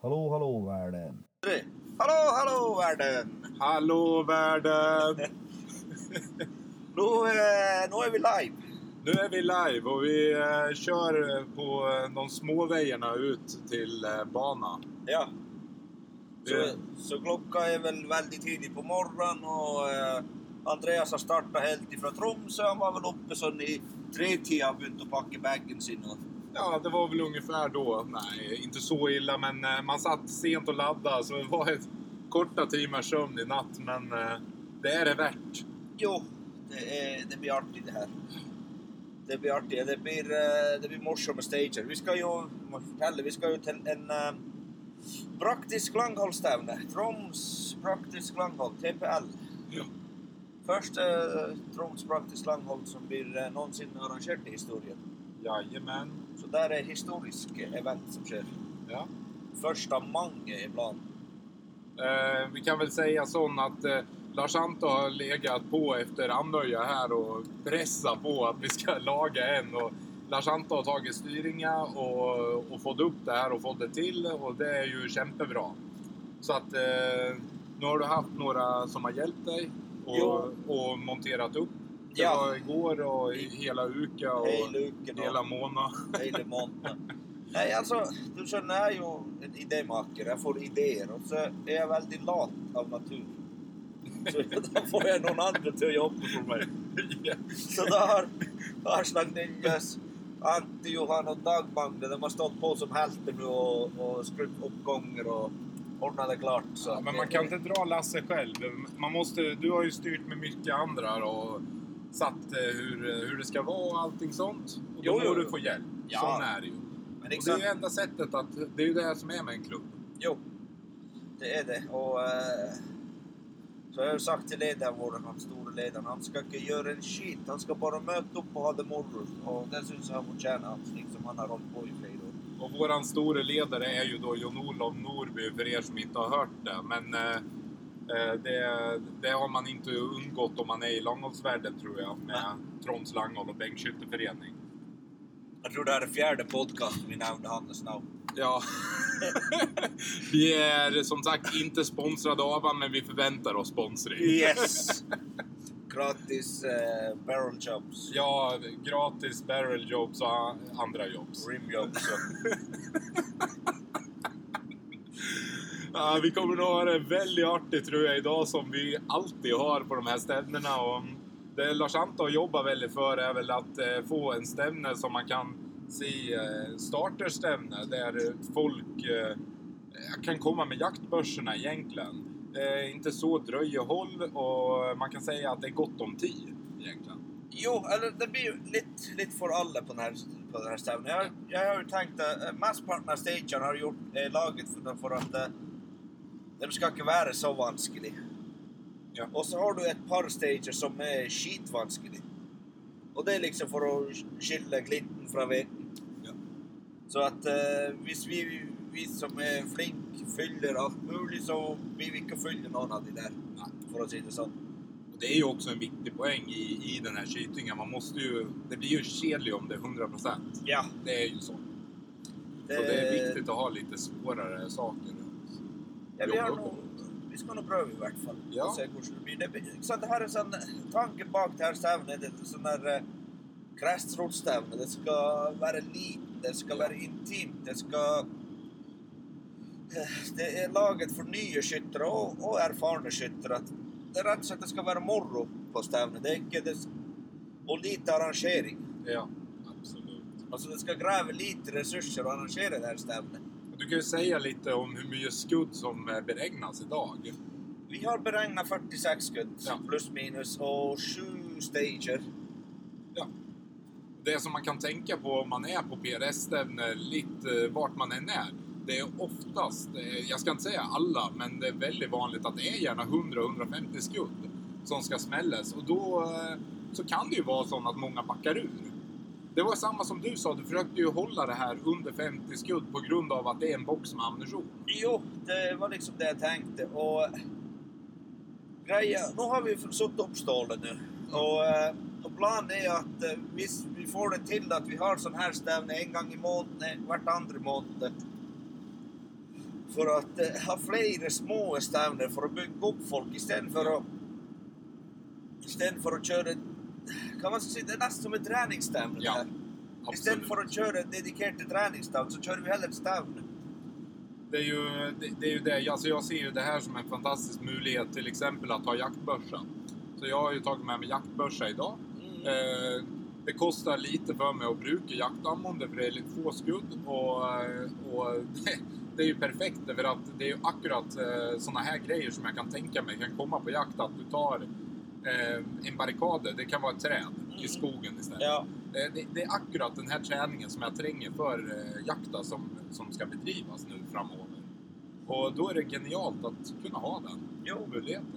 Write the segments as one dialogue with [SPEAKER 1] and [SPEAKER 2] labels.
[SPEAKER 1] Hallå, hallå världen.
[SPEAKER 2] Hallå, hallå världen!
[SPEAKER 3] Hallå världen!
[SPEAKER 2] Nu, eh, nu är vi live.
[SPEAKER 3] Nu är vi live och vi eh, kör eh, på eh, de små vägarna ut till eh, bana.
[SPEAKER 2] Ja. Så,
[SPEAKER 3] Det-
[SPEAKER 2] så klockan är väl väldigt tidigt på morgonen och eh, Andreas har startat helt ifrån Tromsö. Han var väl uppe så i tre tio och började packa bagen sin. Och,
[SPEAKER 3] Ja, det var väl ungefär då. Nej, inte så illa, men eh, man satt sent och laddade så det var ett korta timmars sömn i natt, men eh, det är det värt.
[SPEAKER 2] jo, det, är, det blir artigt det här. Det blir artigt. Det blir, eh, det blir morsor med stager. Vi ska ju, måste fortälla, vi ska ju till en eh, praktisk klanghalstävne. Troms praktisk klanghall, TPL.
[SPEAKER 3] Ja.
[SPEAKER 2] Första eh, Troms praktisk klanghall som blir eh, någonsin arrangerad i historien.
[SPEAKER 3] Jajamän.
[SPEAKER 2] Så där är historisk event som sker.
[SPEAKER 3] Ja.
[SPEAKER 2] Första mange ibland.
[SPEAKER 3] Eh, vi kan väl säga sån att eh, Lars Anto har legat på efter Andöja här och pressat på att vi ska laga en. Och Lars Anto har tagit styrninga och, och fått upp det här och fått det till och det är ju kämpebra. Så att eh, nu har du haft några som har hjälpt dig och,
[SPEAKER 2] Jo.
[SPEAKER 3] och monterat upp. Det
[SPEAKER 2] Ja.
[SPEAKER 3] var igår och i- hela Uka och
[SPEAKER 2] Hej Luken och
[SPEAKER 3] hela Mona.
[SPEAKER 2] hej Monten. Nej alltså, du känner jag är ju en idémakare. Jag får idéer och så är jag väldigt lat av natur. Så då får jag någon annan till att jobba för mig. Så då har Arslan Ninjas, Antti, Johan och Dagmagne, de har stått på som hälter nu och, och skruvat upp gånger och ordnat det klart. Så
[SPEAKER 3] Ja,
[SPEAKER 2] att
[SPEAKER 3] men
[SPEAKER 2] det-
[SPEAKER 3] man kan inte dra Lasse själv. Man måste, du har ju styrt med mycket andra och satt eh, hur, hur det ska vara och allting sånt. Och
[SPEAKER 2] Jo,
[SPEAKER 3] då
[SPEAKER 2] jo,
[SPEAKER 3] får du
[SPEAKER 2] jo.
[SPEAKER 3] få hjälp.
[SPEAKER 2] Ja.
[SPEAKER 3] Sån är det ju.
[SPEAKER 2] Men
[SPEAKER 3] Och det är
[SPEAKER 2] exakt.
[SPEAKER 3] ju enda sättet att... Det är ju det här som är med en klubb.
[SPEAKER 2] Jo, det är det. Och, eh, så jag har sagt till ledaren, vår, han store ledaren, han ska inte göra en skit. Han ska bara möta upp och ha det morgon. Och det syns han förtjänar, att liksom han har hållit på i flera år.
[SPEAKER 3] Och våran store ledare är ju då Jon-Olof Norby, för er som inte har hört det. Men eh, eh, det, det har man inte undgått om man är i Långholmsvärlden tror jag, med Troms Langholm och Bengtskytteförening.
[SPEAKER 2] Jag tror det här är fjärde podcasten vi nämnde hans namn.
[SPEAKER 3] Ja. vi är som sagt inte sponsrade av han, men vi förväntar oss sponsring.
[SPEAKER 2] Yes! Gratis eh, barrel jobs.
[SPEAKER 3] Ja, gratis barrel jobs och a- andra jobs.
[SPEAKER 2] Rim jobs. och-
[SPEAKER 3] Ja, vi kommer nog ha det väldigt artigt tror jag idag som vi alltid har på de här stävnena. Och det Lars Anto jobbar väldigt för är väl att eh, få en stävne som man kan se eh, starterstävne där folk eh, kan komma med jaktbörserna egentligen. Det är inte så dröjehåll och man kan säga att det är gott om tid egentligen.
[SPEAKER 2] Jo, eller det blir ju lite, lite för alla på den här, på den här stävlingen. Jag, jag har ju tänkt att eh, mestparten av stagen har gjort eh, laget för, för att eh, de ska inte vara så vanskelig.
[SPEAKER 3] Ja.
[SPEAKER 2] Och så har du ett par stager som är skitvanskelig. Och det är liksom för att sk- skilja glitten från veten.
[SPEAKER 3] Ja.
[SPEAKER 2] Så att eh, visst vi, vi som är flink fyller allt möjligt så vi vill inte följa någon av de där. För att säga det så.
[SPEAKER 3] Och det är ju också en viktig poäng i, i den här kytingen. Man måste ju... Det blir ju kedlig om det är 100%.
[SPEAKER 2] Ja.
[SPEAKER 3] Det är ju så. Så det
[SPEAKER 2] Eh.
[SPEAKER 3] är viktigt att ha lite svårare saker.
[SPEAKER 2] Ja, vi, har
[SPEAKER 3] jobba
[SPEAKER 2] nog, vi ska nog pröva i vart fall.
[SPEAKER 3] Ja.
[SPEAKER 2] Och se hur det blir. Det, blir- så det här är sån, tanken bak det här stävnet, det är sån där eh, gräsrotsstävne. Det ska vara litet, det ska vara intimt, det ska... eh, Det är laget för nya skyttar och, och erfarna skyttar. att Det är rätt så att det ska vara morro på stävnet. Det är inte det, och lite arrangering.
[SPEAKER 3] Ja, absolut.
[SPEAKER 2] Alltså det ska gräva lite resurser att arrangera det här stävnet.
[SPEAKER 3] Och Du kan ju säga lite om hur mycket skudd som eh, beräknas idag.
[SPEAKER 2] Vi har beräknat 46 skudd,
[SPEAKER 3] Ja.
[SPEAKER 2] plus minus, och sju stager.
[SPEAKER 3] Det som man kan tänka på om man är på PRS-stävne, lite eh, vart man än är. Det är oftast, eh, jag ska inte säga alla, men det är väldigt vanligt att det är gärna 100-150 skudd som ska smällas. Och då eh, så kan det ju vara så att många backar ur. Det var samma som du sa, du försökte ju hålla det här under 50 skudd på grund av att det är en box med ammunition.
[SPEAKER 2] Jo, det var liksom det jag tänkte. Och eh, grejen, nu har vi suttit upp stålet nu. Och, eh, och planen är att eh, vi, vi får det till att vi har sån här stävning en gång i månaden, vartandra månad. för att eh, ha flera små stävner för att bygga upp folk istället för att istället för att köra ett- kan man säga det är nästan som en träningsstävne det
[SPEAKER 3] Ja,
[SPEAKER 2] här.
[SPEAKER 3] Absolut.
[SPEAKER 2] Istället för att köra en dedikerad träningsdag så kör vi hellre en stävne.
[SPEAKER 3] Det är ju det. det, är ju det. Alltså jag ser ju det här som en fantastisk möjlighet till exempel att ha jaktbörsa. Så jag har ju tagit med mig jaktbörsa idag. Eh, det kostar lite för mig att bruka jaktammonde för det är lite få skudd och, eh, och det, det är ju perfekt för att det är ju akkurat eh, sådana här grejer som jag kan tänka mig kan komma på jakt att du tar eh, en barrikade, det kan vara ett träd i skogen istället.
[SPEAKER 2] Mm. Ja,
[SPEAKER 3] Eh, Det, det är akkurat den här träningen som jag tränger för eh, jakta som, som ska bedrivas nu framöver. Och då är det genialt att kunna ha den
[SPEAKER 2] jo.
[SPEAKER 3] möjligheten.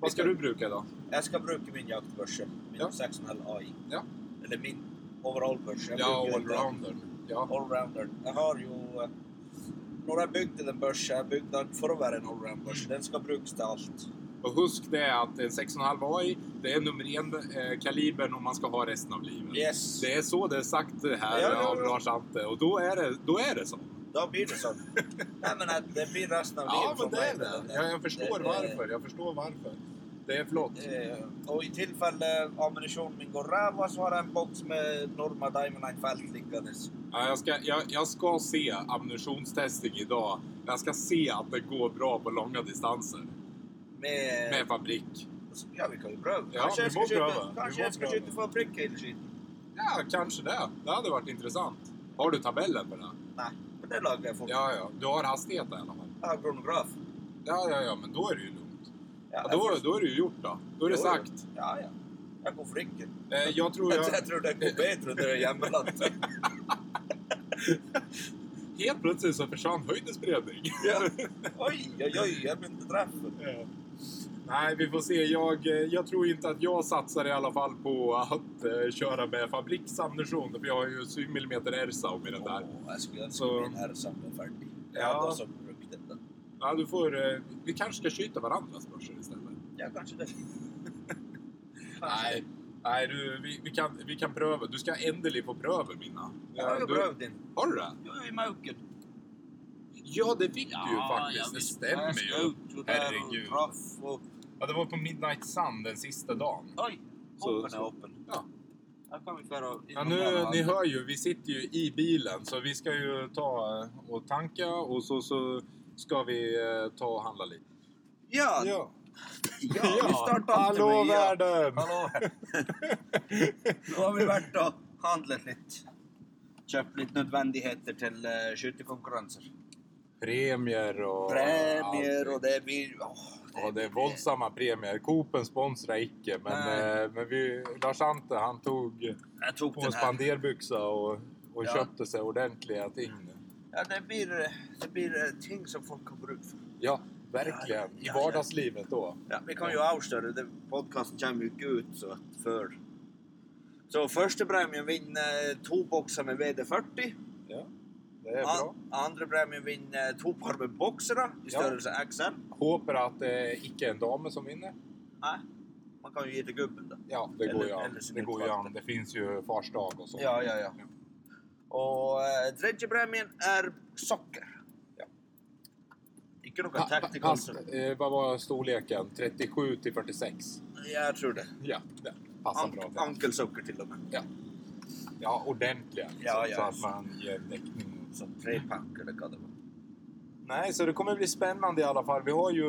[SPEAKER 3] Vad ska du bruka idag?
[SPEAKER 2] Jag ska bruka min jaktbörse, min
[SPEAKER 3] Ja.
[SPEAKER 2] 6,5 AI.
[SPEAKER 3] Ja.
[SPEAKER 2] Eller min overallbörse. Jag
[SPEAKER 3] Ja,
[SPEAKER 2] brukar inte-
[SPEAKER 3] allrounder. Ja.
[SPEAKER 2] allrounder. Jag har ju eh, några byggde den börsen, jag byggde den för att vara en allroundbörs.
[SPEAKER 3] Mm.
[SPEAKER 2] Den ska brukas till allt.
[SPEAKER 3] Och husk det att en 6,5 AI, det är nummer en eh, kalibern om man ska ha resten av livet.
[SPEAKER 2] Yes,
[SPEAKER 3] Mm. Det är så det är sagt här
[SPEAKER 2] Ja, ja, ja.
[SPEAKER 3] av Lars-Ante och då är, det, då är det så.
[SPEAKER 2] då blir det så. Nej men att det blir resten av
[SPEAKER 3] Ja,
[SPEAKER 2] livet
[SPEAKER 3] men
[SPEAKER 2] för
[SPEAKER 3] det
[SPEAKER 2] mig
[SPEAKER 3] är
[SPEAKER 2] med
[SPEAKER 3] det.
[SPEAKER 2] den där.
[SPEAKER 3] Jag, jag förstår
[SPEAKER 2] det-
[SPEAKER 3] varför. Jag förstår varför. Det är flott.
[SPEAKER 2] Eh, Och i tillfälle ammunition min går räva så har jag en box med Norma Diamond Knight Fält liggandes.
[SPEAKER 3] Ja, jag, ska, jag, jag ska se ammunitionstesting idag. Jag ska se att det går bra på långa distanser.
[SPEAKER 2] Med...
[SPEAKER 3] Med fabrik.
[SPEAKER 2] Ja, vi kan ju pröva.
[SPEAKER 3] Ja,
[SPEAKER 2] kanske
[SPEAKER 3] vi
[SPEAKER 2] jag ska
[SPEAKER 3] må
[SPEAKER 2] skjuta,
[SPEAKER 3] pröva.
[SPEAKER 2] kanske
[SPEAKER 3] Vi må
[SPEAKER 2] jag ska
[SPEAKER 3] pröva.
[SPEAKER 2] skjuta för att pricka hela skiten.
[SPEAKER 3] Ja, kanske det. Det hade varit intressant. Har du tabellen på det?
[SPEAKER 2] Nej, men det lagar jag fort.
[SPEAKER 3] Ja, ja. Du har hastigheten i alla fall.
[SPEAKER 2] Jag har kronograf.
[SPEAKER 3] Ja, ja, ja. Men då är det ju lugnt.
[SPEAKER 2] Ja,
[SPEAKER 3] Ja,
[SPEAKER 2] jag
[SPEAKER 3] då,
[SPEAKER 2] får-
[SPEAKER 3] då är det ju gjort då. Då är det
[SPEAKER 2] Jo,
[SPEAKER 3] sagt.
[SPEAKER 2] Ja, ja. Jag går fricken.
[SPEAKER 3] Eh, jag tror jag...
[SPEAKER 2] Jag, jag tror det går bättre när det är jämlat.
[SPEAKER 3] Helt plötsligt så försvann höjdespridning.
[SPEAKER 2] Ja. Oj, oj, oj, jag blev inte träffad.
[SPEAKER 3] Ja. Nej, vi får se. Jag, eh, jag tror inte att jag satsar i alla fall på att eh, köra med fabriksammunition. För jag har ju 7 mm Airsaum i den där.
[SPEAKER 2] Åh, jag skulle önska
[SPEAKER 3] Så-
[SPEAKER 2] min R-sam var färdig. Jag
[SPEAKER 3] Ja.
[SPEAKER 2] hade också brukt den.
[SPEAKER 3] Ja, du får, eh, vi kanske ska skjuta varandras börsor istället.
[SPEAKER 2] Ja, kanske det.
[SPEAKER 3] Nej, Nej du, vi, vi, kan, vi kan pröva. Du ska ändelig få pröva mina.
[SPEAKER 2] Jag har ju
[SPEAKER 3] du,
[SPEAKER 2] prövat den.
[SPEAKER 3] har du det?
[SPEAKER 2] Jag är i mauken.
[SPEAKER 3] Ja, det fick du ju faktiskt. det stämmer ju.
[SPEAKER 2] ju. Herregud.
[SPEAKER 3] Herregud. Ja, det var på Midnight Sun den sista dagen.
[SPEAKER 2] Oj,
[SPEAKER 3] Så-
[SPEAKER 2] hoppen är
[SPEAKER 3] så-
[SPEAKER 2] öppen.
[SPEAKER 3] Ja.
[SPEAKER 2] Här kan vi föra...
[SPEAKER 3] Ja, nu, ni hör ju, vi sitter ju i bilen så vi ska ju ta eh, och tanka och så, så ska vi eh, ta och handla lite.
[SPEAKER 2] Ja, ja,
[SPEAKER 3] Ja,
[SPEAKER 2] vi startar alltid
[SPEAKER 3] Hallå
[SPEAKER 2] med E. ja.
[SPEAKER 3] världen!
[SPEAKER 2] Hallå! Nu har vi varit och handlat lite. Köpt lite nödvändigheter till uh, skyttekonkurrenser.
[SPEAKER 3] Premier och...
[SPEAKER 2] Premier
[SPEAKER 3] allting.
[SPEAKER 2] och det blir... åh,
[SPEAKER 3] Ja, det är våldsamma premier. Coopen sponsrar icke, men,
[SPEAKER 2] Nej.
[SPEAKER 3] eh, men vi, Lars-Ante han tog
[SPEAKER 2] Jag tog
[SPEAKER 3] på en
[SPEAKER 2] den här.
[SPEAKER 3] spenderbyxa och, och
[SPEAKER 2] Ja. Mm.
[SPEAKER 3] köpte sig ordentliga ting.
[SPEAKER 2] Ja, det blir, eh, det blir eh, ting som folk har bruk för.
[SPEAKER 3] Ja, verkligen.
[SPEAKER 2] Ja,
[SPEAKER 3] I
[SPEAKER 2] ja.
[SPEAKER 3] vardagslivet då.
[SPEAKER 2] Ja, vi kan ju avslöja det. Podcasten kommer ju inte ut så att för. Så första premien vinner två boxar med VD40.
[SPEAKER 3] Ja, det är bra.
[SPEAKER 2] An- andra premien vinner två par med boxarna i
[SPEAKER 3] Ja.
[SPEAKER 2] störelse XL.
[SPEAKER 3] Håper att det icke är en dame som vinner.
[SPEAKER 2] Nej, man kan ju ge till gubben då.
[SPEAKER 3] Ja, det går
[SPEAKER 2] Eller-
[SPEAKER 3] ju an.
[SPEAKER 2] eller sin
[SPEAKER 3] Det, går ju
[SPEAKER 2] utvakter.
[SPEAKER 3] an. det finns ju farsdag och så.
[SPEAKER 2] Ja, ja, ja. Och eh, tredje premien är socker.
[SPEAKER 3] Ja.
[SPEAKER 2] Inte några
[SPEAKER 3] Pa- pa-
[SPEAKER 2] tactical.
[SPEAKER 3] pass- eh, vad var storleken? 37 till 46?
[SPEAKER 2] Jag tror det.
[SPEAKER 3] Ja, det passar bra.
[SPEAKER 2] An- ankelsocker till och med.
[SPEAKER 3] Ja, ordentliga. Liksom,
[SPEAKER 2] Ja, ja.
[SPEAKER 3] Så att man ger däckning.
[SPEAKER 2] Så tre pack eller vad det var.
[SPEAKER 3] Nej, så det kommer bli spännande i alla fall. Vi har ju,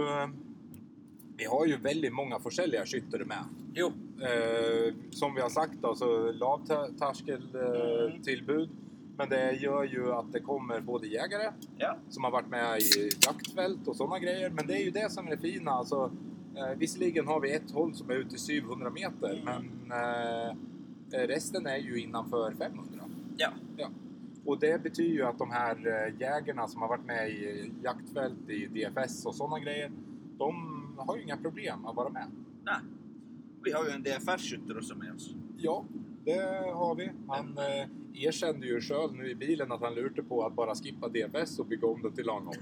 [SPEAKER 3] vi har ju väldigt många försäljare skyttare med.
[SPEAKER 2] Jo.
[SPEAKER 3] Eh, som vi har sagt då, så lav tröskeltillbud. Eh,
[SPEAKER 2] Mm.
[SPEAKER 3] tillbud. Men det gör ju att det kommer både jägare
[SPEAKER 2] Ja.
[SPEAKER 3] som har varit med i jaktfält och sådana grejer. Men det är ju det som är det fina. Alltså, eh, visserligen har vi ett håll som är ute i 700 meter,
[SPEAKER 2] Mm.
[SPEAKER 3] men eh, resten är ju innanför 500.
[SPEAKER 2] Ja.
[SPEAKER 3] Och det betyder ju att de här eh, jägarna som har varit med i eh, jaktfält, i DFS och sådana grejer, de har ju inga problem att vara med.
[SPEAKER 2] Vi har ju en DFR-skytte också med oss.
[SPEAKER 3] Ja, det har vi. Han eh, erkände ju själv nu i bilen att han lurte på att bara skippa DFS och bygga om det till Langholm.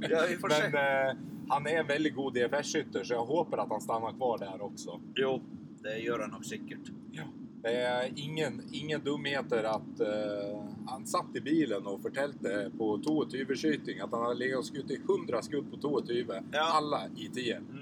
[SPEAKER 2] Ja, vi får
[SPEAKER 3] Men
[SPEAKER 2] se.
[SPEAKER 3] eh, han är en väldigt god DFS-skytter så jag hoppas att han stannar kvar där också.
[SPEAKER 2] Jo, det gör han nog säkert.
[SPEAKER 3] Ja. Det är ingen, ingen dumheter att eh, han satt i bilen och förtällde på Tået Yverkyting att han hade legat och skutit 100 skutt på Tået Yve.
[SPEAKER 2] Ja.
[SPEAKER 3] Alla i 10.
[SPEAKER 2] Mm.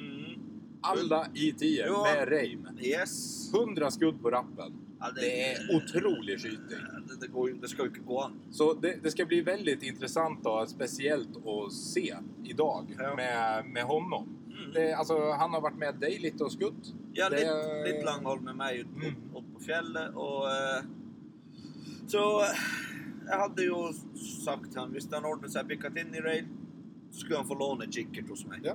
[SPEAKER 3] Alla i 10
[SPEAKER 2] Ja.
[SPEAKER 3] med reim.
[SPEAKER 2] Yes.
[SPEAKER 3] 100 skutt på rappen.
[SPEAKER 2] Ja,
[SPEAKER 3] Det är otrolig skjutning.
[SPEAKER 2] Det, det, går, ju- det ska ju inte gå an.
[SPEAKER 3] Så det, det ska bli väldigt intressant och speciellt att se idag
[SPEAKER 2] Ja.
[SPEAKER 3] med, med honom.
[SPEAKER 2] Mm.
[SPEAKER 3] Det, alltså, han har varit med dig lite och skutt.
[SPEAKER 2] Ja,
[SPEAKER 3] det-
[SPEAKER 2] lite, lite Langholm med mig ut,
[SPEAKER 3] Mm.
[SPEAKER 2] upp, upp på fjället. Och, eh, så eh, jag hade ju sagt till honom, visst han ordnar sig Picatinny Rail, så skulle han få låna en kickert hos mig.
[SPEAKER 3] Ja.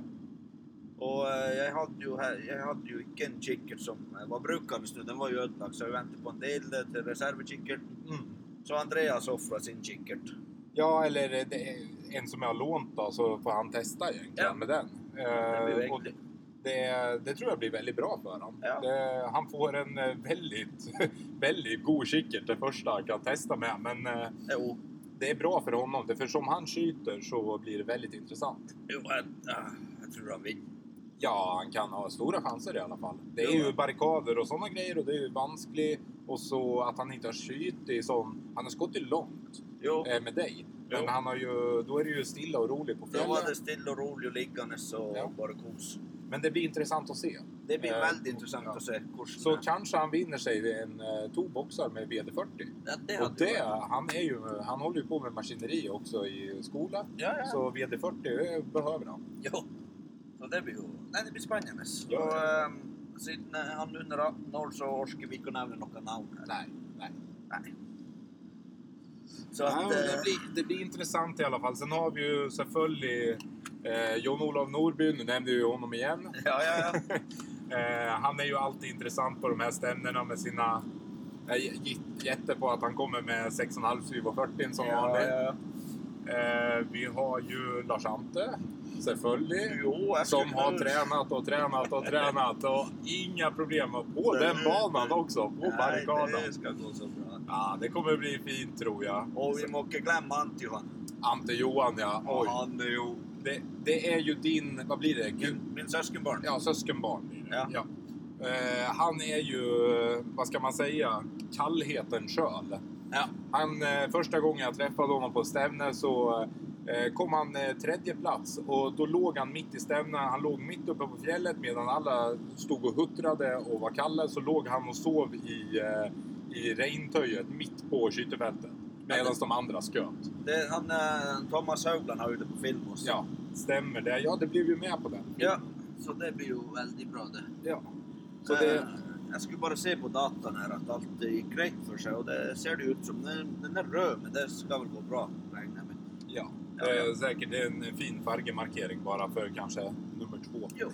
[SPEAKER 2] Och eh, jag hade ju, här- jag hade ju inte en kickert som eh, var brukandes nu, den var ju ödelagd. Så jag väntade på en del eh, till reservkickerten.
[SPEAKER 3] Mm.
[SPEAKER 2] Så Andreas offrade sin kickert.
[SPEAKER 3] Ja, eller det är en som jag har lånt då, så får han testa egentligen
[SPEAKER 2] Ja.
[SPEAKER 3] med den.
[SPEAKER 2] Det blev
[SPEAKER 3] Eh, och
[SPEAKER 2] äckligt.
[SPEAKER 3] det, det tror jag blir väldigt bra för honom.
[SPEAKER 2] Ja.
[SPEAKER 3] Det, han får en eh, väldigt, väldigt god kickert det första han kan testa med. Men eh,
[SPEAKER 2] Jo,
[SPEAKER 3] det är bra för honom, för som han skjuter så blir det väldigt intressant.
[SPEAKER 2] jo jag, ah, jag tror han vinner.
[SPEAKER 3] Ja, han kan ha stora chanser i alla fall. Det är
[SPEAKER 2] Jo.
[SPEAKER 3] ju barrikader och sådana grejer och det är ju vanskligt. Och så att han inte har skjutit som... Han har skottit långt
[SPEAKER 2] Jo.
[SPEAKER 3] eh, med dig. Men
[SPEAKER 2] Jo.
[SPEAKER 3] han har ju, då är det ju stilla och roligt på
[SPEAKER 2] Då
[SPEAKER 3] fjällen.
[SPEAKER 2] var det still och rolig och liggandes och
[SPEAKER 3] Ja.
[SPEAKER 2] bara kos.
[SPEAKER 3] Men det blir intressant att se.
[SPEAKER 2] Det blir
[SPEAKER 3] Eh,
[SPEAKER 2] väldigt
[SPEAKER 3] och-
[SPEAKER 2] intressant
[SPEAKER 3] ja.
[SPEAKER 2] att se kursen.
[SPEAKER 3] Så kanske han vinner sig en eh, toboxar med VD40.
[SPEAKER 2] ja, det
[SPEAKER 3] och
[SPEAKER 2] hade ju
[SPEAKER 3] det,
[SPEAKER 2] varit-
[SPEAKER 3] han, är ju, han håller ju på med maskineri också i skolan.
[SPEAKER 2] Ja, ja.
[SPEAKER 3] Så VD40 eh, behöver han.
[SPEAKER 2] Jo. Så det blir ju... Nej, det blir spännande. Så,
[SPEAKER 3] Ja, ja.
[SPEAKER 2] ehm, sen när han under 18 år så orkar vi inte nämna några namn. här.
[SPEAKER 3] Nej, nej.
[SPEAKER 2] Nej. Så att...
[SPEAKER 3] Nej, men
[SPEAKER 2] eh,
[SPEAKER 3] det, blir, det blir intressant i alla fall. Sen har vi ju självföljt eh, John-Olof Norby, nu nämnde ju honom igen.
[SPEAKER 2] Ja, ja, ja.
[SPEAKER 3] Eh, han är ju alltid intressant på de här stämningarna med sina... Jag är j- jätte på att han kommer med 6,5 440 som
[SPEAKER 2] ja,
[SPEAKER 3] vanligt.
[SPEAKER 2] ja.
[SPEAKER 3] Eh, vi har ju Lars-Ante, självföljt.
[SPEAKER 2] Jo, jag
[SPEAKER 3] Som
[SPEAKER 2] skulle-
[SPEAKER 3] har tränat och tränat och tränat och inga problem. På den banan också, på
[SPEAKER 2] Nej,
[SPEAKER 3] barrikaden.
[SPEAKER 2] det ska gå så bra.
[SPEAKER 3] Ja, det kommer bli fint tror jag.
[SPEAKER 2] Och vi må inte glömma Antti-Johan.
[SPEAKER 3] Ante Johan ja, oj.
[SPEAKER 2] Han är ju...
[SPEAKER 3] Det, det är ju din, vad blir det? Gud,
[SPEAKER 2] Min, min söskenbarn.
[SPEAKER 3] ja, söskenbarn blir det.
[SPEAKER 2] Ja.
[SPEAKER 3] Eh, han är ju, vad ska man säga, kallheten sköl.
[SPEAKER 2] Ja.
[SPEAKER 3] Han, eh, första gången jag träffade honom på Stävne så eh, kom han eh, tredje plats och då låg han mitt i Stävne. Han låg mitt uppe på fjället medan alla stod och huttrade och var kalla så låg han och sov i, eh, i regntöjet mitt på skyttefältet medan de andra sköt.
[SPEAKER 2] Det, han, eh, Thomas Haugland har ju det på film också.
[SPEAKER 3] Ja, stämmer det. Ja, det blev ju med på den.
[SPEAKER 2] Ja, så det blir ju väldigt bra det.
[SPEAKER 3] Ja. Så det,
[SPEAKER 2] Eh, Jag skulle bara se på datan här att allt gick rätt för sig och det ser det ut som. Den, den är röd men det ska väl gå bra regnar jag med.
[SPEAKER 3] ja.
[SPEAKER 2] Ja, ja.
[SPEAKER 3] Eh, säkert en fin fargemarkering bara för kanske nummer två.
[SPEAKER 2] Jo.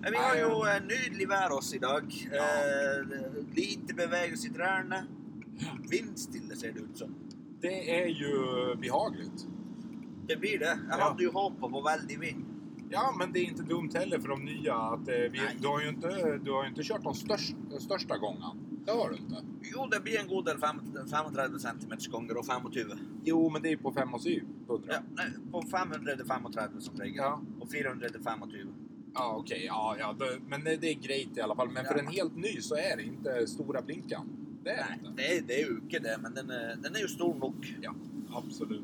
[SPEAKER 2] Men Vi har ju en nydlig vär oss idag.
[SPEAKER 3] Ja.
[SPEAKER 2] Eh, lite bevegelse i träna. Vindstille ser det ut som.
[SPEAKER 3] Det är ju behagligt.
[SPEAKER 2] Det blir det. Jag
[SPEAKER 3] Ja.
[SPEAKER 2] hade ju hoppat på väldigt vind.
[SPEAKER 3] Ja, men det är inte dumt heller för de nya. Att, eh, vi,
[SPEAKER 2] Nej.
[SPEAKER 3] du, har ju inte, du har ju inte kört de största, största gången. Det har du inte.
[SPEAKER 2] Jo, det blir en god del fem- 35 cm gånger och 25.
[SPEAKER 3] Jo, men det är ju på 5 och 700.
[SPEAKER 2] Ja, nej, på 500 är det 35 som regel.
[SPEAKER 3] Ja.
[SPEAKER 2] Och 400 är det 25.
[SPEAKER 3] Ja, okej. Ja, ja, det, men det, det är grejt i alla fall. Men
[SPEAKER 2] Ja.
[SPEAKER 3] för en helt ny så är det inte stora blinkan. Det är det
[SPEAKER 2] Nej,
[SPEAKER 3] inte.
[SPEAKER 2] det är, det är ju inte det, men den är, den är ju stor nog.
[SPEAKER 3] Absolut.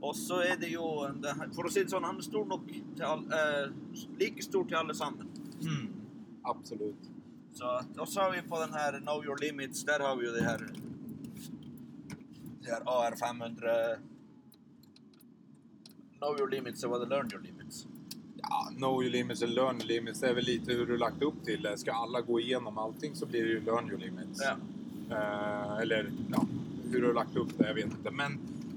[SPEAKER 2] Och så är det ju, en- det här- för att säga det sån, han är stor nog till all, eh, lika stor till allesammans.
[SPEAKER 3] Mm. Absolut.
[SPEAKER 2] Så att, och så har vi på den här Know Your Limits, där har vi ju det här, det här AR500. Know Your Limits och vad det Learn Your Limits.
[SPEAKER 3] Ja, know your limits och learn your limits. Det är väl lite hur du lagt upp till det. Ska alla gå igenom allting så blir det ju learn your limits.
[SPEAKER 2] Ja.
[SPEAKER 3] Eh, eller ja, hur du har lagt upp det, jag vet inte. Men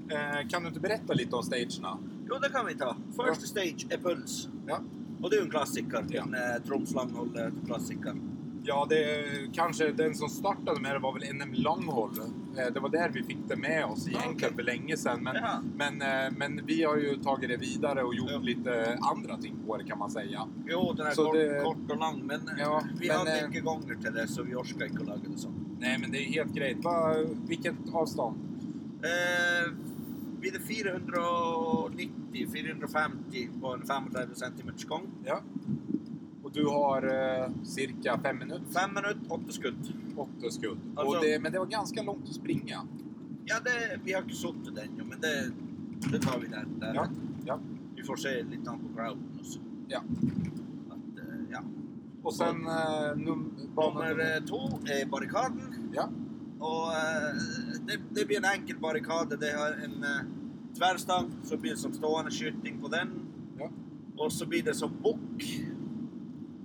[SPEAKER 3] eh, kan du inte berätta lite om stagerna?
[SPEAKER 2] Jo, det kan vi ta. First stage är puls.
[SPEAKER 3] Ja.
[SPEAKER 2] Och det är ju en klassiker,
[SPEAKER 3] Ja.
[SPEAKER 2] en eh, Troms Langhåll-klassiker.
[SPEAKER 3] Ja, det, kanske den som startade med det var väl NM Långhåll. Eh, det var där vi fick det med oss egentligen
[SPEAKER 2] Ah, okej.
[SPEAKER 3] för länge sedan. Men,
[SPEAKER 2] Jaha.
[SPEAKER 3] men, eh, men vi har ju tagit det vidare och gjort
[SPEAKER 2] Ja.
[SPEAKER 3] lite andra ting på det kan man säga.
[SPEAKER 2] Jo, den är
[SPEAKER 3] Så
[SPEAKER 2] kort,
[SPEAKER 3] det-
[SPEAKER 2] kort och lång, men
[SPEAKER 3] Ja,
[SPEAKER 2] vi
[SPEAKER 3] men,
[SPEAKER 2] hade
[SPEAKER 3] eh,
[SPEAKER 2] inte gånger till det så vi orkade inte laga det så.
[SPEAKER 3] Nej, men det är helt grejt. Va, vilket avstånd?
[SPEAKER 2] Eh, vid 490, 450 på en 35 cm gång.
[SPEAKER 3] Ja. Och du har eh, cirka fem minuter.
[SPEAKER 2] 5 minuter, 8 skutt.
[SPEAKER 3] 80 skudd.
[SPEAKER 2] Alltså-
[SPEAKER 3] och det, men det var ganska långt att springa.
[SPEAKER 2] Ja, det, vi har inte suttit den ju, men det, det tar vi där. där.
[SPEAKER 3] Ja, ja.
[SPEAKER 2] Vi får se lite grann på crowden och så.
[SPEAKER 3] Ja.
[SPEAKER 2] Att, eh, ja.
[SPEAKER 3] Och
[SPEAKER 2] Mm.
[SPEAKER 3] sen eh, num- banan...
[SPEAKER 2] Nummer eh, två är barrikaden.
[SPEAKER 3] Ja.
[SPEAKER 2] Och eh, det, det blir en enkel barrikad. Det har en eh, tvärstang, så blir det som stående skjutning på den.
[SPEAKER 3] Ja.
[SPEAKER 2] Och så blir det som bock.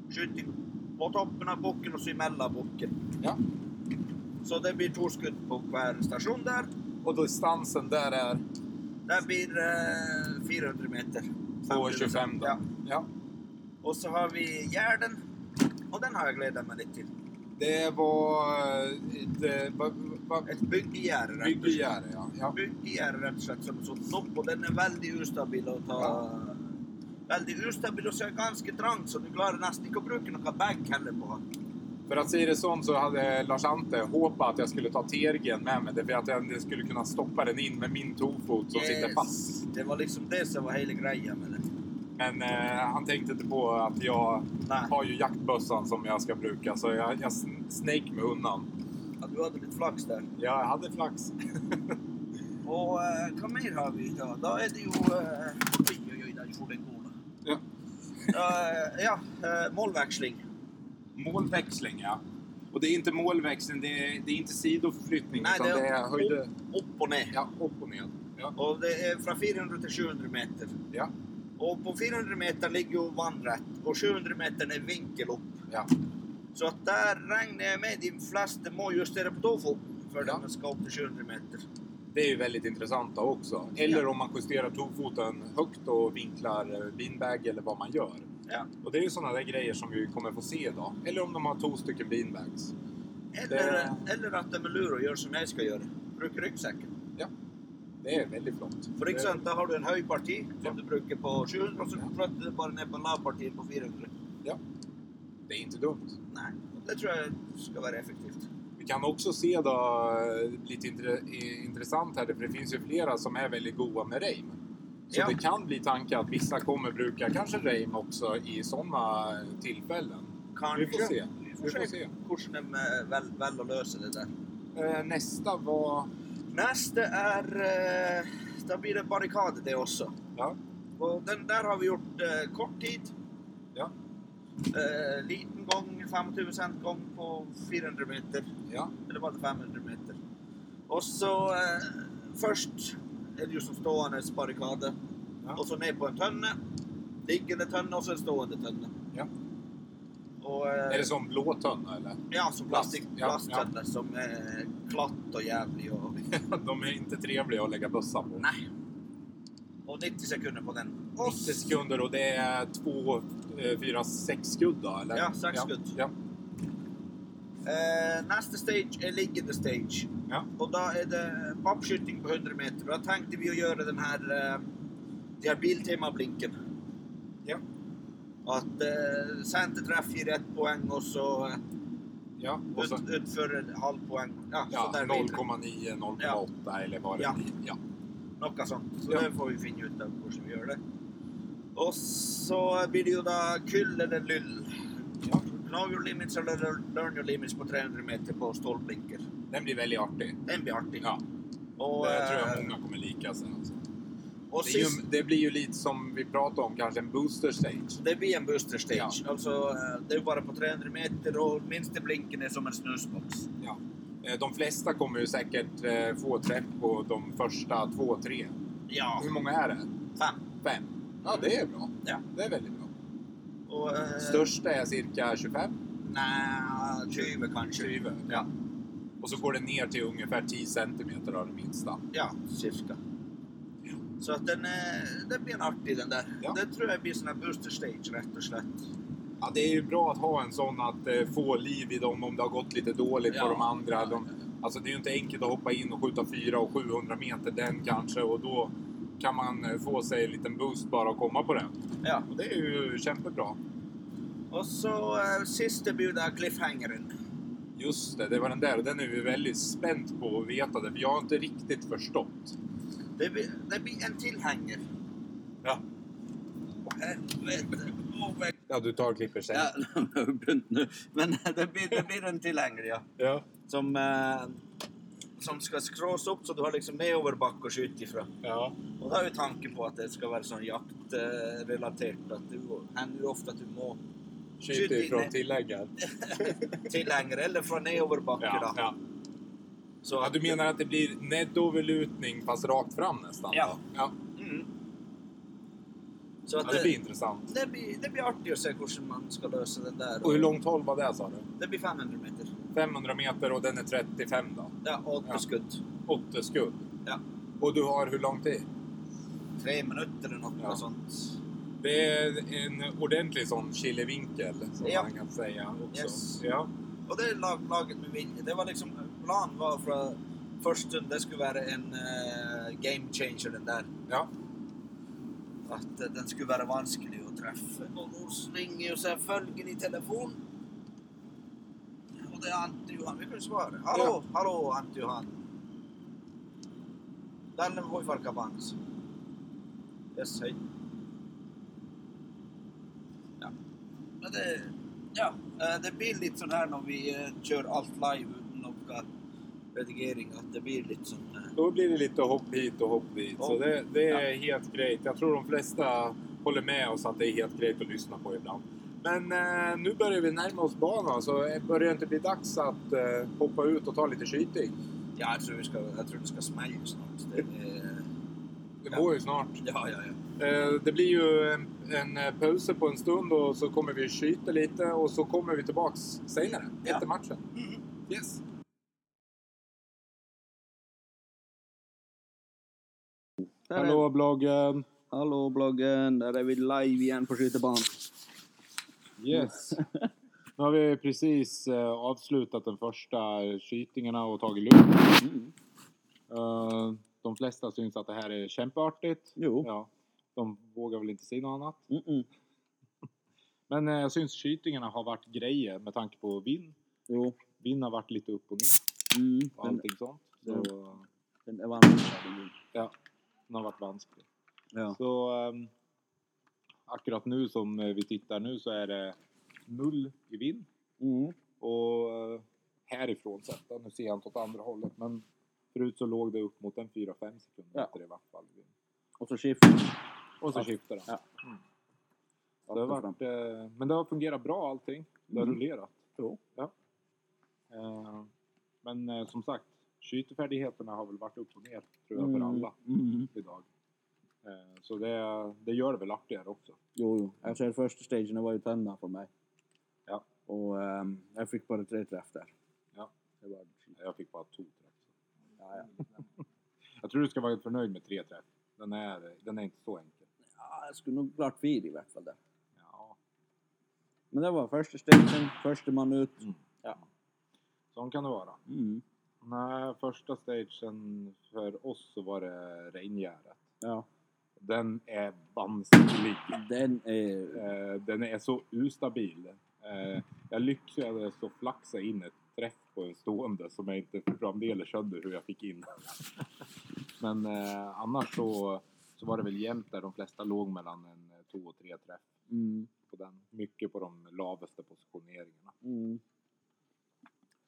[SPEAKER 2] Skjutning på toppen av bocken och så emellan bocken.
[SPEAKER 3] Ja.
[SPEAKER 2] Så det blir två skutt på hver station där.
[SPEAKER 3] Och distansen där är
[SPEAKER 2] Det blir eh, 400 meter.
[SPEAKER 3] 2,25 då.
[SPEAKER 2] Ja.
[SPEAKER 3] Ja.
[SPEAKER 2] Och så har vi Gärden. Och den har jag glädjat mig lite till.
[SPEAKER 3] Det var ett... eh, va- va-
[SPEAKER 2] Ett byggjärde. rätt och slätt.
[SPEAKER 3] Byggjärde, ja. ja.
[SPEAKER 2] Byggjärde rätt och slett som en sånn topp. Og den er veldig ustabil å ta Veldig ustabil og så er det ganske trangt, så du klarer nesten ikke å bruke noe bag heller på den.
[SPEAKER 3] För att säga det sånt så hade Lars-Ante hoppats att jag skulle ta tergen med mig. För att jag skulle kunna stoppa den in med min tofot som sitter
[SPEAKER 2] Yes.
[SPEAKER 3] fast.
[SPEAKER 2] Det var liksom det som var hele greia med det.
[SPEAKER 3] Men eh, han tänkte inte på att jag
[SPEAKER 2] Nei,
[SPEAKER 3] har ju jaktbössan som jag ska bruka. Så jag, jag sn- snake mig undan.
[SPEAKER 2] at du hadde litt flaks der.
[SPEAKER 3] Jag hade flax.
[SPEAKER 2] Og eh, hva mer har vi da? Da er det jo eh, Oi, oi, oi, der gjorde jeg god, da.
[SPEAKER 3] Ja.
[SPEAKER 2] Eh, ja, eh, målveksling.
[SPEAKER 3] Målväxling, ja. Och det är inte målväxling, det är, det är inte sidoförflyttning.
[SPEAKER 2] Nej,
[SPEAKER 3] utan
[SPEAKER 2] det
[SPEAKER 3] det
[SPEAKER 2] är
[SPEAKER 3] är, höjde...
[SPEAKER 2] Opp, opp og ned.
[SPEAKER 3] Ja, upp och ned. Ja.
[SPEAKER 2] Og det er fra 400 til 700 meter.
[SPEAKER 3] Ja.
[SPEAKER 2] Og på 400 meter ligger jo vannrett, og 700 meter er vinkel opp.
[SPEAKER 3] Ja.
[SPEAKER 2] Så at der regner jeg med de fleste må justere på tofoten før
[SPEAKER 3] Ja.
[SPEAKER 2] de skal opp til 700 meter.
[SPEAKER 3] Det är ju väldigt intressant då också. Eller om man justerar tofoten högt och vinklar eh, beanbag eller vad man gör.
[SPEAKER 2] Ja.
[SPEAKER 3] Och det är ju sådana där grejer som vi kommer få se idag. Eller om de har två stycken beanbags.
[SPEAKER 2] Eller,
[SPEAKER 3] Det-
[SPEAKER 2] eller at de er lure og gjør som jeg skal gjøre. Bruk ryggsekken.
[SPEAKER 3] Det är väldigt flott.
[SPEAKER 2] For ikke sant, da har du en høy parti
[SPEAKER 3] Ja.
[SPEAKER 2] som du bruker på 700, og så flytter du det bare ned på lavpartiet på 400.
[SPEAKER 3] Det, det är inte dumt.
[SPEAKER 2] Nei, det tror jeg skal være effektivt.
[SPEAKER 3] Vi kan också se då, eh, lite intre, eh, intressant här, för det finns ju flera som är väldigt goda med reim. Så
[SPEAKER 2] Ja.
[SPEAKER 3] det kan bli tanke att vissa kommer bruka kanske reim också i sådana tillfällen.
[SPEAKER 2] Kanskje.
[SPEAKER 3] Vi får se.
[SPEAKER 2] Vi
[SPEAKER 3] Vi
[SPEAKER 2] får
[SPEAKER 3] får
[SPEAKER 2] se,
[SPEAKER 3] se.
[SPEAKER 2] hvordan de eh, vel, velger å løse det der.
[SPEAKER 3] Eh, Nästa var...
[SPEAKER 2] Neste er eh, Da blir det barrikade, det også.
[SPEAKER 3] Ja.
[SPEAKER 2] Og den der har vi gjort eh, kort tid.
[SPEAKER 3] Ja.
[SPEAKER 2] Eh, liten gång, 25 cent gång på 400 meter.
[SPEAKER 3] Ja.
[SPEAKER 2] Eller var det 500 meter? Og så eh, Først er det jo som stående barrikade.
[SPEAKER 3] Ja.
[SPEAKER 2] Og så ned på en tønne. Liggende tønne, og så en stående tønne.
[SPEAKER 3] Ja.
[SPEAKER 2] Og, eh,
[SPEAKER 3] Är det som blå tunna eller?
[SPEAKER 2] Ja, som
[SPEAKER 3] Plast.
[SPEAKER 2] plastik,
[SPEAKER 3] Ja,
[SPEAKER 2] plasttønner som er glatt og jævlig. Og,
[SPEAKER 3] De är inte trevliga att lägga bössa på.
[SPEAKER 2] nei. Og 90 sekunder på den.
[SPEAKER 3] 80 sekunder och det är två, eh, fyra, sex skudd då, eller?
[SPEAKER 2] Ja, sex skudd.
[SPEAKER 3] Ja.
[SPEAKER 2] Eh, neste stage er liggende stage.
[SPEAKER 3] Ja.
[SPEAKER 2] Og da er det pappskyting på 100 meter. Og da tenkte vi å gjøre den her, eh, de her biltemablinken.
[SPEAKER 3] Ja.
[SPEAKER 2] At eh, sentertreff gir ett poeng, og så eh,
[SPEAKER 3] ja. Och
[SPEAKER 2] ut,
[SPEAKER 3] så,
[SPEAKER 2] utføre halv poeng. Ja,
[SPEAKER 3] ja,
[SPEAKER 2] sånn der videre.
[SPEAKER 3] 0,9, 0,8 eller vad det
[SPEAKER 2] Ja.
[SPEAKER 3] blir. Ja.
[SPEAKER 2] Noe sånt. Så
[SPEAKER 3] Ja.
[SPEAKER 2] det får vi finne ut av hvordan vi gjør det. Og så blir det jo da kull eller lyll.
[SPEAKER 3] Ja.
[SPEAKER 2] Know your limits eller learn your limits på 300 meter på stålblinker.
[SPEAKER 3] Den blir väldigt artig.
[SPEAKER 2] Den blir artig.
[SPEAKER 3] Ja.
[SPEAKER 2] Og,
[SPEAKER 3] det tror
[SPEAKER 2] eh,
[SPEAKER 3] jag många kommer lika sen. Alltså.
[SPEAKER 2] og
[SPEAKER 3] Det, är
[SPEAKER 2] sist,
[SPEAKER 3] ju, det blir ju lite som vi pratade om, kanske en booster stage.
[SPEAKER 2] det blir en booster stage.
[SPEAKER 3] Ja.
[SPEAKER 2] Altså, eh, det er jo bare på 300 meter, og minste blinken er som en snusboks.
[SPEAKER 3] Ja. Eh, De flesta kommer ju säkert eh, få träff på de första två, tre.
[SPEAKER 2] Ja,
[SPEAKER 3] Hur många är det?
[SPEAKER 2] fem.
[SPEAKER 3] Fem? Ja, det är bra.
[SPEAKER 2] Ja.
[SPEAKER 3] Det är väldigt bra.
[SPEAKER 2] Og, eh,
[SPEAKER 3] Största är cirka 25.
[SPEAKER 2] Nei, 20 kanskje.
[SPEAKER 3] Tjuve.
[SPEAKER 2] Ja.
[SPEAKER 3] Och så går det ner till ungefär 10 centimeter av det minsta.
[SPEAKER 2] Ja, cirka.
[SPEAKER 3] Ja.
[SPEAKER 2] Så att den, eh, den blir en artig den där.
[SPEAKER 3] Ja.
[SPEAKER 2] Det tror jag blir sån här booster stage rätt och slätt.
[SPEAKER 3] Ja, det är ju bra att ha en sån att eh, få liv i dem om det har gått lite dåligt
[SPEAKER 2] Ja.
[SPEAKER 3] på de andra. De, alltså det är ju inte enkelt att hoppa in och skjuta 4 och 700 meter den kanske och då kan man eh, få sig en liten boost bara att komma på den.
[SPEAKER 2] Ja.
[SPEAKER 3] Och det är ju kämpebra.
[SPEAKER 2] Och så eh, sista blir det cliffhangeren.
[SPEAKER 3] Just det, det var den där och den är vi väldigt spänt på att veta det för jag har inte riktigt förstått.
[SPEAKER 2] Det blir, det blir en tillhänger.
[SPEAKER 3] Ja.
[SPEAKER 2] Helvete. Åh, vad
[SPEAKER 3] Ja, du tar och klipper sen.
[SPEAKER 2] Ja, nu- men det blir, det blir en tilhenger, ja.
[SPEAKER 3] Ja.
[SPEAKER 2] Som, eh, som ska skrås upp så du har liksom nedover back och skjuta ifrån.
[SPEAKER 3] Ja.
[SPEAKER 2] Och då är ju tanken på att det ska vara sån jaktrelaterat. Att du händer ju ofta att du må
[SPEAKER 3] Skjut
[SPEAKER 2] in
[SPEAKER 3] ifrån
[SPEAKER 2] det.
[SPEAKER 3] tillägget.
[SPEAKER 2] tillänger eller från nedover backen.
[SPEAKER 3] Ja,
[SPEAKER 2] då.
[SPEAKER 3] ja.
[SPEAKER 2] Så
[SPEAKER 3] Ja,
[SPEAKER 2] att-
[SPEAKER 3] du menar att det blir nedoverlutning fast rakt fram nästan?
[SPEAKER 2] Ja.
[SPEAKER 3] Ja,
[SPEAKER 2] Mm. Så att
[SPEAKER 3] ja det blir intressant.
[SPEAKER 2] det, blir, det blir artigt att se hur man ska lösa den där.
[SPEAKER 3] Och hur långt håll var det sa du?
[SPEAKER 2] Det blir 500 meter.
[SPEAKER 3] 500 meter och den är 35 då?
[SPEAKER 2] Ja, åtta
[SPEAKER 3] Ja.
[SPEAKER 2] skudd.
[SPEAKER 3] 8 skudd.
[SPEAKER 2] Ja.
[SPEAKER 3] Och du har hur lång tid?
[SPEAKER 2] Tre minuter eller något
[SPEAKER 3] Ja.
[SPEAKER 2] sånt.
[SPEAKER 3] Det är en ordentlig sån killevinkel som
[SPEAKER 2] Ja.
[SPEAKER 3] man kan säga också.
[SPEAKER 2] Yes.
[SPEAKER 3] Ja.
[SPEAKER 2] Och det är lag, laget med Vinje. Det var liksom, plan var från först stund, det skulle vara en eh, game changer den där.
[SPEAKER 3] Ja.
[SPEAKER 2] Att eh, den skulle vara vansklig att träffa. Och då ringer ju så här fölgen i telefon. Och det är Ante Johan, vi kan ju svara. Hallå,
[SPEAKER 3] Ja.
[SPEAKER 2] hallå Ante Johan. Danne Hoifarka Bands. Yes, hej. Ja. Men det, ja, eh, det blir lite sån här när vi eh, kör allt live utan några redigering. Att det blir lite sån... eh,
[SPEAKER 3] Då blir det lite hopp hit och hopp dit. Så
[SPEAKER 2] Hopp.
[SPEAKER 3] det, det är helt grejt. Jag tror de flesta håller med oss att det är helt grejt att lyssna på ibland. Men eh, nu börjar vi närma oss banan så börjar det inte bli dags att eh, hoppa ut och ta lite skyting?
[SPEAKER 2] Ja, jag tror, vi ska, jag tror det ska smälla snart. Det, är-
[SPEAKER 3] Det
[SPEAKER 2] Ja.
[SPEAKER 3] går ju snart.
[SPEAKER 2] ja, ja, ja.
[SPEAKER 3] Eh, Det blir ju en, en eh, pause på en stund och så kommer vi skjuta lite och så kommer vi tillbaks senare
[SPEAKER 2] Ja.
[SPEAKER 3] efter matchen. Yes. Hallå bloggen!
[SPEAKER 2] Hallå bloggen, där är vi live igen på skyttebanan.
[SPEAKER 3] Yes. Nu har vi precis eh, avslutat den första skjutningarna och tagit lugnt.
[SPEAKER 2] Mm.
[SPEAKER 3] Eh, De flesta syns att det här är kämpeartigt.
[SPEAKER 2] Jo.
[SPEAKER 3] Ja, de vågar väl inte säga något annat.
[SPEAKER 2] Mm-mm.
[SPEAKER 3] Men eh, jag syns skjutningarna har varit grejer med tanke på vind.
[SPEAKER 2] Jo.
[SPEAKER 3] Vind har varit lite upp och ner
[SPEAKER 2] Mm.
[SPEAKER 3] och allting sånt. Så
[SPEAKER 2] Mm.
[SPEAKER 3] eh,
[SPEAKER 2] den är vanlig.
[SPEAKER 3] den har varit vansklig.
[SPEAKER 2] Ja.
[SPEAKER 3] Så ehm, akkurat nu som eh, vi tittar nu så är det null i vind
[SPEAKER 2] Mm.
[SPEAKER 3] och eh, härifrån sett, då, nu ser jag inte åt andra hållet, men förut så låg det upp mot en 4-5 sekunder
[SPEAKER 2] Ja.
[SPEAKER 3] efter i vart fall. vind.
[SPEAKER 2] Och så skift.
[SPEAKER 3] Och så
[SPEAKER 2] Ja.
[SPEAKER 3] skiftar den.
[SPEAKER 2] Ja.
[SPEAKER 3] Mm. Så Det har varit, eh, men det har fungerat bra allting. Det har
[SPEAKER 2] Mm.
[SPEAKER 3] rullerat.
[SPEAKER 2] Jo.
[SPEAKER 3] Ja. Eh, men eh, som sagt, skytefärdigheterna har väl varit upp och ner tror jag för alla
[SPEAKER 2] Mm.
[SPEAKER 3] idag. Eh, så det, det gör det väl artigare också.
[SPEAKER 1] Jo, jo. Jag ser första stagen var ju tända för mig.
[SPEAKER 3] Ja.
[SPEAKER 1] Och ehm, jag fick bara tre träff där.
[SPEAKER 3] Ja.
[SPEAKER 1] Det var...
[SPEAKER 3] Jag fick bara två träff.
[SPEAKER 1] Ja, ja.
[SPEAKER 3] Jag tror du ska vara förnöjd med tre träff. Den är, den är inte så enkel.
[SPEAKER 1] ja, Ah, jag skulle nog klart fyra i vart fall där.
[SPEAKER 3] Ja.
[SPEAKER 1] Men det var första stagen, första man ut.
[SPEAKER 3] Mm. Sån kan det vara.
[SPEAKER 1] Mm.
[SPEAKER 3] Nej, första stagen för oss så var det Rengäret.
[SPEAKER 1] Ja.
[SPEAKER 3] Den är vansklig.
[SPEAKER 1] Den är...
[SPEAKER 3] Eh, den är så ustabil. Eh, jag lyckades att flaxa in ett träff på en stående som jag inte framdeles kände hur jag fick in. Men eh, annars så, så var det väl jämnt där de flesta låg mellan en eh, två och tre träff
[SPEAKER 1] Mm.
[SPEAKER 3] på den. Mycket på de lavaste positioneringarna.
[SPEAKER 1] Mm.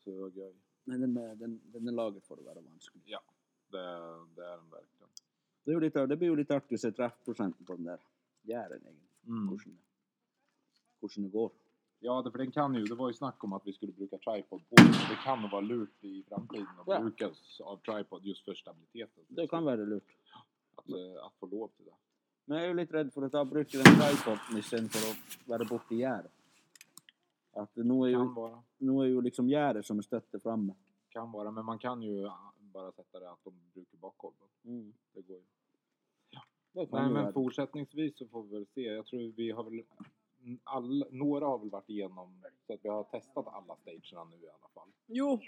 [SPEAKER 3] Så det var göj.
[SPEAKER 1] Men den, är- den, den är laget för att vara vansklig.
[SPEAKER 3] Det, det är den verkligen.
[SPEAKER 1] Det, är ju lite, det blir ju lite artigt att se träffprocenten på den där jären egentligen.
[SPEAKER 3] Mm.
[SPEAKER 1] Kursen. Kursen det går.
[SPEAKER 3] Ja, det, för den kan ju, det var ju snack om att vi skulle bruka tripod på den. Det kan nog vara lurt i framtiden att
[SPEAKER 1] Ja.
[SPEAKER 3] brukas av tripod just för stabiliteten.
[SPEAKER 1] Det kan vara lurt.
[SPEAKER 3] Att, eh, att få lov till det.
[SPEAKER 1] Men jag är ju lite rädd för att jag brukar en tripod sen för att vara borta i gäret. Att nu är ju,
[SPEAKER 3] Kan vara.
[SPEAKER 1] nu är ju liksom gäret som är stötte framme.
[SPEAKER 3] Kan vara, men man kan ju ah, bara sätta det att de brukar bakkolven. Det går ju.
[SPEAKER 1] Det kan
[SPEAKER 3] Nej,
[SPEAKER 1] ju
[SPEAKER 3] men
[SPEAKER 1] vara.
[SPEAKER 3] fortsättningsvis så får vi väl se. Jag tror vi har väl... mm, All, några har väl varit igenom så att vi har testat alla stagerna nu i alla fall.
[SPEAKER 1] Jo!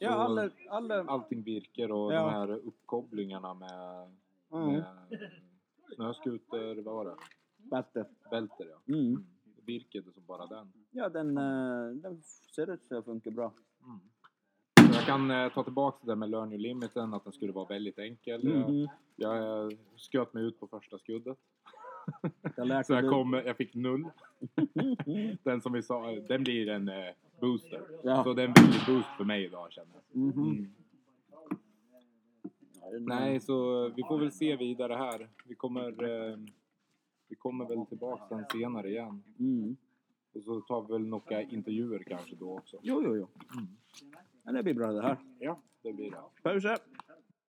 [SPEAKER 1] Ja,
[SPEAKER 3] Så-
[SPEAKER 1] alla... alla
[SPEAKER 3] Allting virker och
[SPEAKER 1] Ja.
[SPEAKER 3] de här uppkopplingarna med,
[SPEAKER 1] mm.
[SPEAKER 3] med snöskuter, vad var det?
[SPEAKER 1] Bättre.
[SPEAKER 3] Bälter ja.
[SPEAKER 1] Mm.
[SPEAKER 3] Virkade som bara den.
[SPEAKER 1] Ja, den, eh, den ser ut att funka bra.
[SPEAKER 3] Så jag kan eh, ta tillbaka det där med learn your limiten, att den skulle vara väldigt enkel.
[SPEAKER 1] Mm.
[SPEAKER 3] Jag, jag eh, sköt mig ut på första skuddet.
[SPEAKER 1] Jag lärde
[SPEAKER 3] Så jag,
[SPEAKER 1] mig-
[SPEAKER 3] kom, jag fick null. Den som vi sa, den blir en eh, booster.
[SPEAKER 1] Ja.
[SPEAKER 3] Så den blir en boost för mig idag känner jag.
[SPEAKER 1] Mhm.
[SPEAKER 3] Mm. Nej, så vi får väl se vidare här. Vi kommer, eh, vi kommer väl tillbaka sen senare igen.
[SPEAKER 1] Mm.
[SPEAKER 3] Och så tar vi väl några intervjuer kanske då också.
[SPEAKER 1] Jo, jo, jo. Men Mm. det blir bra det här.
[SPEAKER 3] Ja, det blir det.
[SPEAKER 1] Pausa!